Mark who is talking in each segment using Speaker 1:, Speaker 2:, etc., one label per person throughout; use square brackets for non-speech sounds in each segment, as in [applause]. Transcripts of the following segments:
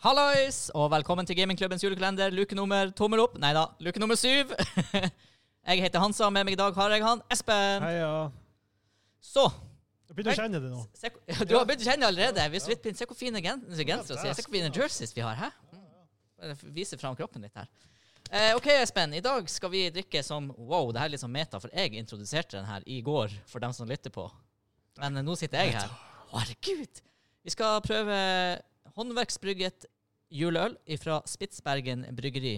Speaker 1: Hallais, og velkommen til Gamingklubbens julekalender, luke nummer tommel opp. Nei da, luke nummer syv. [laughs] jeg heter Hansa, med meg i dag har jeg han Espen.
Speaker 2: Heia.
Speaker 1: Så
Speaker 2: Jeg begynner å
Speaker 1: Hei.
Speaker 2: kjenne det nå.
Speaker 1: se, hvor- Du har begynt å kjenne allerede. Vi er så vidt begynt. Se hvor fine gen- gensere
Speaker 2: Ja,
Speaker 1: vi har. Se hvor fine jerseys vi har. Hæ? Mm. Bare f- Vise fram kroppen litt her. Eh, OK, Espen. I dag skal vi drikke som Wow, det her er litt sånn meta, for jeg introduserte den her i går for dem som lytter på. Men eh, nå sitter jeg her. Herregud! Vi skal prøve håndverksbrygget juleøl fra Spitsbergen bryggeri.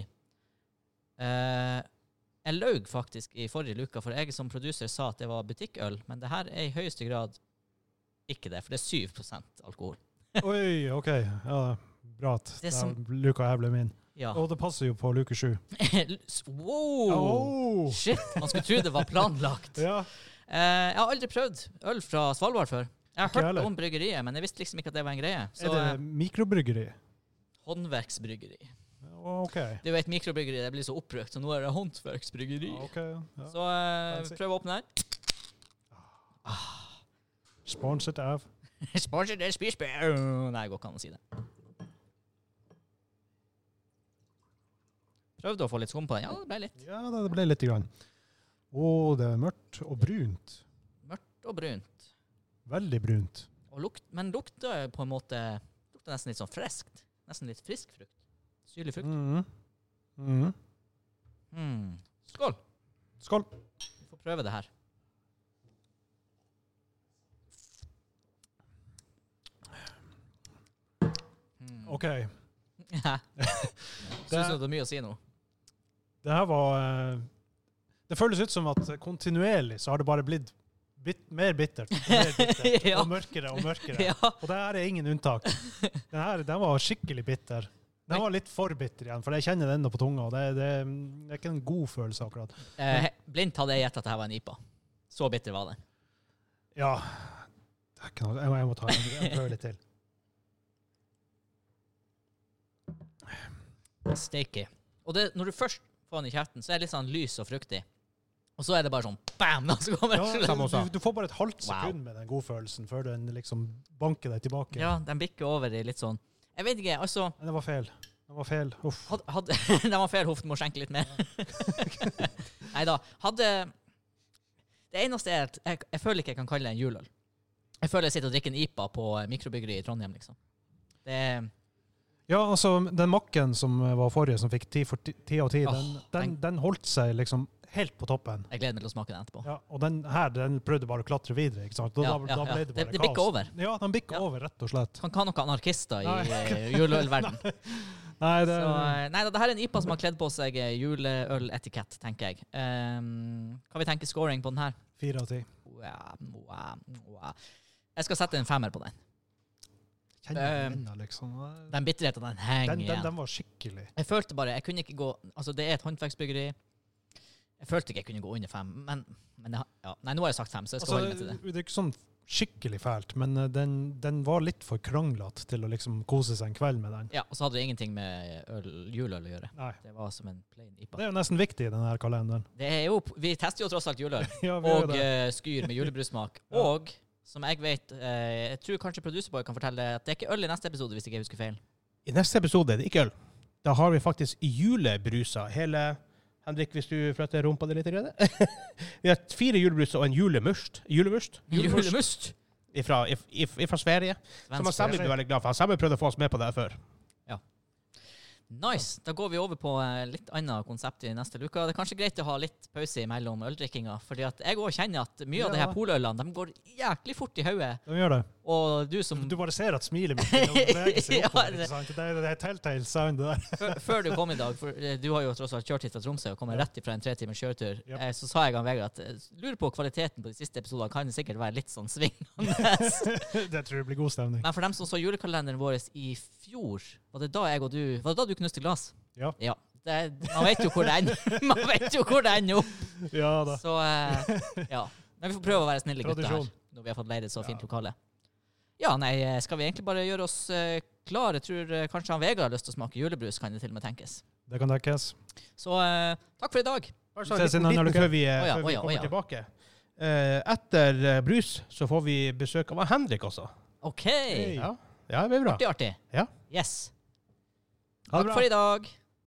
Speaker 1: Eh, jeg laug faktisk i forrige luka, for jeg som produser sa at det var butikkøl, men det her er i høyeste grad ikke det, for det er 7 alkohol.
Speaker 2: Oi, OK. Ja, bra at
Speaker 1: Det som-
Speaker 2: den luka her ble min.
Speaker 1: Ja. Oh.
Speaker 2: Og det passer jo på luke sju.
Speaker 1: wow!
Speaker 2: Au.
Speaker 1: Shit, man skulle tro det var planlagt.
Speaker 2: Oh. [laughs] Ja.
Speaker 1: Eh, jeg har aldri prøvd øl fra Svalbard før. Jeg
Speaker 2: Ikke
Speaker 1: har hørt
Speaker 2: heller.
Speaker 1: om bryggeriet, men jeg visste liksom ikke at det var en greie. Så
Speaker 2: Er det
Speaker 1: eh,
Speaker 2: mikrobryggeri?
Speaker 1: håndverksbryggeri.
Speaker 2: OK.
Speaker 1: Det er jo et mikrobryggeri, det blir så oppbrukt, så nå er det håndverksbryggeri.
Speaker 2: Ok, ja.
Speaker 1: Så eh,
Speaker 2: Fancy.
Speaker 1: prøv å åpne her. [laughs]
Speaker 2: Sponset av
Speaker 1: Sponsor det spisbær. Nei, det går ikke an å si det. Prøvde å få litt skum på den. Ja, det ble litt
Speaker 2: Ja, da, det ble litt. Grann. Å, det er mørkt og brunt.
Speaker 1: mørkt og brunt.
Speaker 2: Veldig brunt.
Speaker 1: Og lukt, men lukta på en måte lukta nesten litt sånn friskt. Nesten litt frisk frukt. Syrlig frukt.
Speaker 2: Mhm. Mhm.
Speaker 1: Mm. Skål!
Speaker 2: Skål.
Speaker 1: Vi får prøve det her. Mm. [laughs]
Speaker 2: OK.
Speaker 1: Ja. Syns du det er mye å si nå?
Speaker 2: Det her var eh, Det føles ut som at kontinuerlig så har det bare blitt bit, mer bittert, og mer bittert
Speaker 1: [laughs] Ja.
Speaker 2: og mørkere og mørkere.
Speaker 1: Ja.
Speaker 2: Og det her er ingen unntak. Den her den var skikkelig bitter. Den var litt for bitter igjen, for jeg kjenner den på tunga. og Det, det, det er ikke en god følelse akkurat.
Speaker 1: Eh, blindt hadde jeg gjettet at dette var en IPA. Så bitter var den.
Speaker 2: Ja, det er ikke noe, jeg, må, jeg må ta en jeg prøver litt til.
Speaker 1: Steaky. Og det, når du først får den i kjeften, så er det litt sånn lys og fruktig. Og så er det bare sånn bam! Da, så kommer
Speaker 2: Ja, du,
Speaker 1: samosa.
Speaker 2: du får bare et halvt
Speaker 1: Wow.
Speaker 2: sekund med den godfølelsen før den liksom banker deg tilbake.
Speaker 1: Ja, den bikker over i litt sånn Jeg vet ikke, altså
Speaker 2: Men det var feil. Det var feil. Uff.
Speaker 1: Hadde, [laughs] hadde, det var feil hofte, må skjenke litt mer. [laughs] Nei da. Hadde Det eneste er at jeg, jeg føler ikke jeg kan kalle det en juleøl. Jeg føler jeg sitter og drikker en IPA på eh, mikrobryggeri i Trondheim, liksom. Det
Speaker 2: Ja, altså, den makken som var forrige, som fikk ti for ti, ti av ti, den,
Speaker 1: Åh,
Speaker 2: den, den holdt seg liksom helt på toppen.
Speaker 1: Jeg gleder meg til å smake den etterpå.
Speaker 2: Ja, og den her, den prøvde bare å klatre videre, ikke sant? Da,
Speaker 1: Ja,
Speaker 2: da,
Speaker 1: ja,
Speaker 2: da
Speaker 1: ja.
Speaker 2: ble det
Speaker 1: Det-
Speaker 2: bare kaos.
Speaker 1: det bikker over.
Speaker 2: Ja, den bikker
Speaker 1: Ja.
Speaker 2: over, rett og slett.
Speaker 1: Kan ikke ha noen anarkister i
Speaker 2: Nei.
Speaker 1: eh, juleølverden.
Speaker 2: [laughs] Nei,
Speaker 1: Så,
Speaker 2: det,
Speaker 1: eh, nei da, det her er en IPA som har kledd på seg eh, juleøletikett, tenker jeg. Um, kan vi tenke scoring på den her?
Speaker 2: Fire av ti.
Speaker 1: Wow, wow, wow. Jeg skal sette en femmer på den.
Speaker 2: Kjenner
Speaker 1: Eh,
Speaker 2: du den, liksom. Den,
Speaker 1: Den bitterheten, den henger
Speaker 2: den,
Speaker 1: igjen.
Speaker 2: den var skikkelig.
Speaker 1: Jeg følte bare Jeg kunne ikke gå Altså, det er et håndverksbryggeri. Jeg følte ikke jeg kunne gå under fem, men, men jeg, har- ja. Nei, nå har jeg sagt fem, så jeg skal
Speaker 2: Altså,
Speaker 1: holde meg til det.
Speaker 2: det er ikke sånn skikkelig fælt, men eh, den, den var litt for kranglete til å liksom kose seg en kveld med den.
Speaker 1: Ja, Og så hadde det ingenting med eh, øl, juleøl å gjøre.
Speaker 2: Nei.
Speaker 1: Det var som en plain IPA.
Speaker 2: Det er jo nesten viktig i denne kalenderen. [laughs]
Speaker 1: Det er jo, vi tester jo tross alt juleøl.
Speaker 2: Ja, vi gjør
Speaker 1: Og
Speaker 2: det.
Speaker 1: eh, skyr med julebrussmak.
Speaker 2: [laughs] Ja.
Speaker 1: Og som jeg vet eh, Jeg tror kanskje Producerboy kan fortelle at det er ikke øl i neste episode, hvis ikke jeg husker feil.
Speaker 3: I neste episode er det ikke øl. Da har vi faktisk julebruser. Hele Henrik, hvis du flytter rumpa di litt. i grann. [laughs] vi har fire julebruser og en julemust. Julemust?
Speaker 1: Julemust!
Speaker 3: Fra, Sverige. Som han Sammy blir veldig glad for. Han Sammy prøvde å få oss med på det her før.
Speaker 1: Nice. Da går vi over på eh, litt annet konsept i neste luke. Det er kanskje greit å ha litt pause mellom øldrikkinga. fordi at jeg òg kjenner at mye av de her
Speaker 2: Ja.
Speaker 1: polølene de går jæklig fort i hodet.
Speaker 2: De gjør det.
Speaker 1: Og du
Speaker 2: [laughs]
Speaker 1: som
Speaker 2: Du bare ser at smilet mitt beveger seg
Speaker 1: [laughs] Ja,
Speaker 2: oppover.
Speaker 1: det-
Speaker 2: ikke sant? Det er det er telltale sound, det der. [laughs]
Speaker 1: før, før du kom i dag, for eh, du har jo tross alt kjørt hit fra Tromsø og kommer
Speaker 2: Ja.
Speaker 1: rett ifra en tre timers kjøretur,
Speaker 2: Yep.
Speaker 1: eh, så sa jeg han Vegard at eh, lurer på kvaliteten på de siste episodene. Kan sikkert være litt sånn
Speaker 2: [laughs]
Speaker 1: svingende.
Speaker 2: Det tror jeg blir god stemning.
Speaker 1: Men for dem som så julekalenderen vår i fjor, var det da jeg og du Var det da du knuste glass?
Speaker 2: Ja.
Speaker 1: ja. Det, man vet jo hvor det ender. [laughs] Man vet jo hvor det ender opp.
Speaker 2: Ja da.
Speaker 1: Så eh, ja. Men vi får prøve å være snille gutter her,
Speaker 2: Tradisjon.
Speaker 1: når vi har fått leid et så fint
Speaker 2: Ja.
Speaker 1: lokale. Ja, nei, eh, skal vi egentlig bare gjøre oss eh, klare? Jeg tror eh, kanskje han Vegard har lyst til å smake julebrus, kan det til og med tenkes.
Speaker 2: Det kan dekkes.
Speaker 1: Så eh, takk for i dag.
Speaker 3: Bare
Speaker 2: Vi
Speaker 3: sånn
Speaker 2: ses
Speaker 3: liten,
Speaker 2: innen
Speaker 3: liten
Speaker 2: uke.
Speaker 3: før vi,
Speaker 1: Å ja,
Speaker 3: før
Speaker 1: å
Speaker 3: vi
Speaker 1: ja, å
Speaker 3: kommer
Speaker 1: ja.
Speaker 3: tilbake. Eh, etter eh, brus så får vi besøk av Henrik også.
Speaker 1: OK.
Speaker 2: Hei.
Speaker 3: Ja, ja det blir bra.
Speaker 1: Artig, artig.
Speaker 3: Ja.
Speaker 1: Yes.
Speaker 2: Ha det
Speaker 1: Takk
Speaker 2: bra.
Speaker 1: for i dag.